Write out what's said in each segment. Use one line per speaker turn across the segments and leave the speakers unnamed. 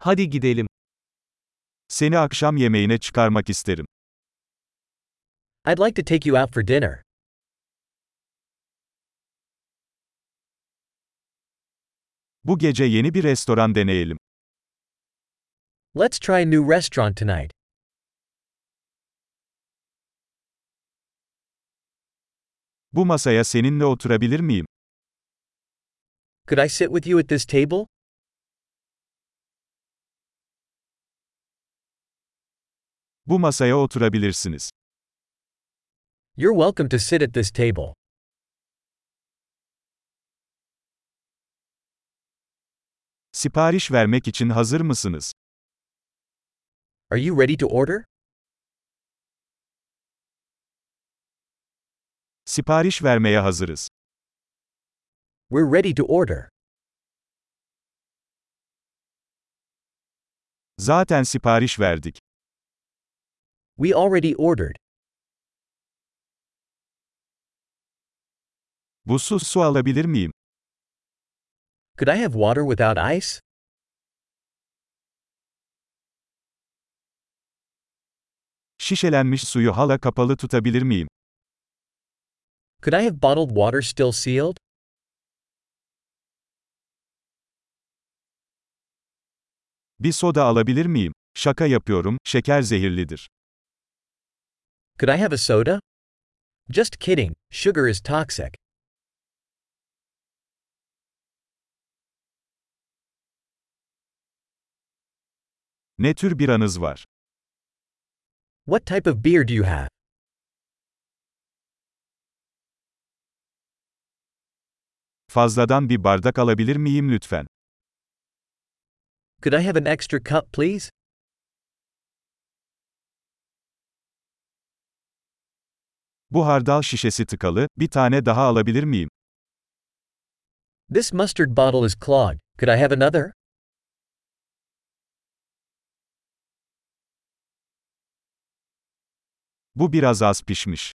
Hadi gidelim.
Seni akşam yemeğine çıkarmak isterim.
I'd like to take you out for dinner.
Bu gece yeni bir restoran deneyelim.
Let's try a new restaurant tonight.
Bu masaya seninle oturabilir miyim?
Could I sit with you at this table?
Bu masaya oturabilirsiniz.
You're welcome to sit at this table.
Sipariş vermek için hazır mısınız?
Are you ready to order?
Sipariş vermeye hazırız.
We're ready to order.
Zaten sipariş verdik.
We already ordered.
Buzsuz su alabilir miyim?
Could I have water without ice?
Şişelenmiş suyu hala kapalı tutabilir miyim?
Could I have bottled water still sealed?
Bir soda alabilir miyim? Şaka yapıyorum, şeker zehirlidir.
Could I have a soda? Just kidding, sugar is toxic.
Ne tür bir anız var?
What type of beer do you have?
Fazladan bir bardak alabilir miyim lütfen?
Could I have an extra cup, please?
Bu hardal şişesi tıkalı, bir tane daha alabilir miyim?
This mustard bottle is clogged. Could I have another?
Bu biraz az pişmiş.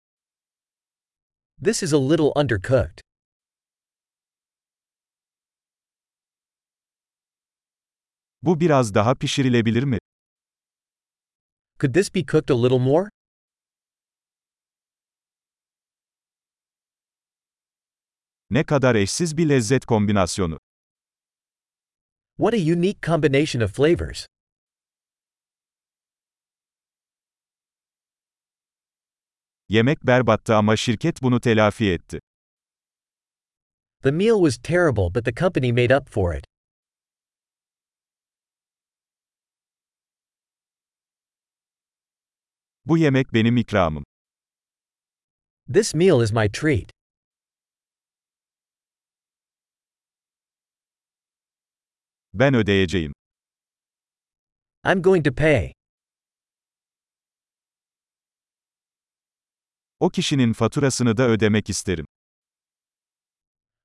This is a little undercooked.
Bu biraz daha pişirilebilir mi?
Could this be cooked a little more?
Ne kadar eşsiz bir lezzet kombinasyonu.
What a unique combination of flavors.
Yemek berbattı ama şirket bunu telafi etti.
The meal was terrible but the company made up for it.
Bu yemek benim ikramım.
This meal is my treat.
Ben ödeyeceğim.
I'm going to pay.
O kişinin faturasını da ödemek isterim.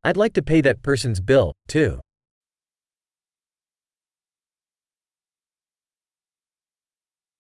I'd like to pay that person's bill, too.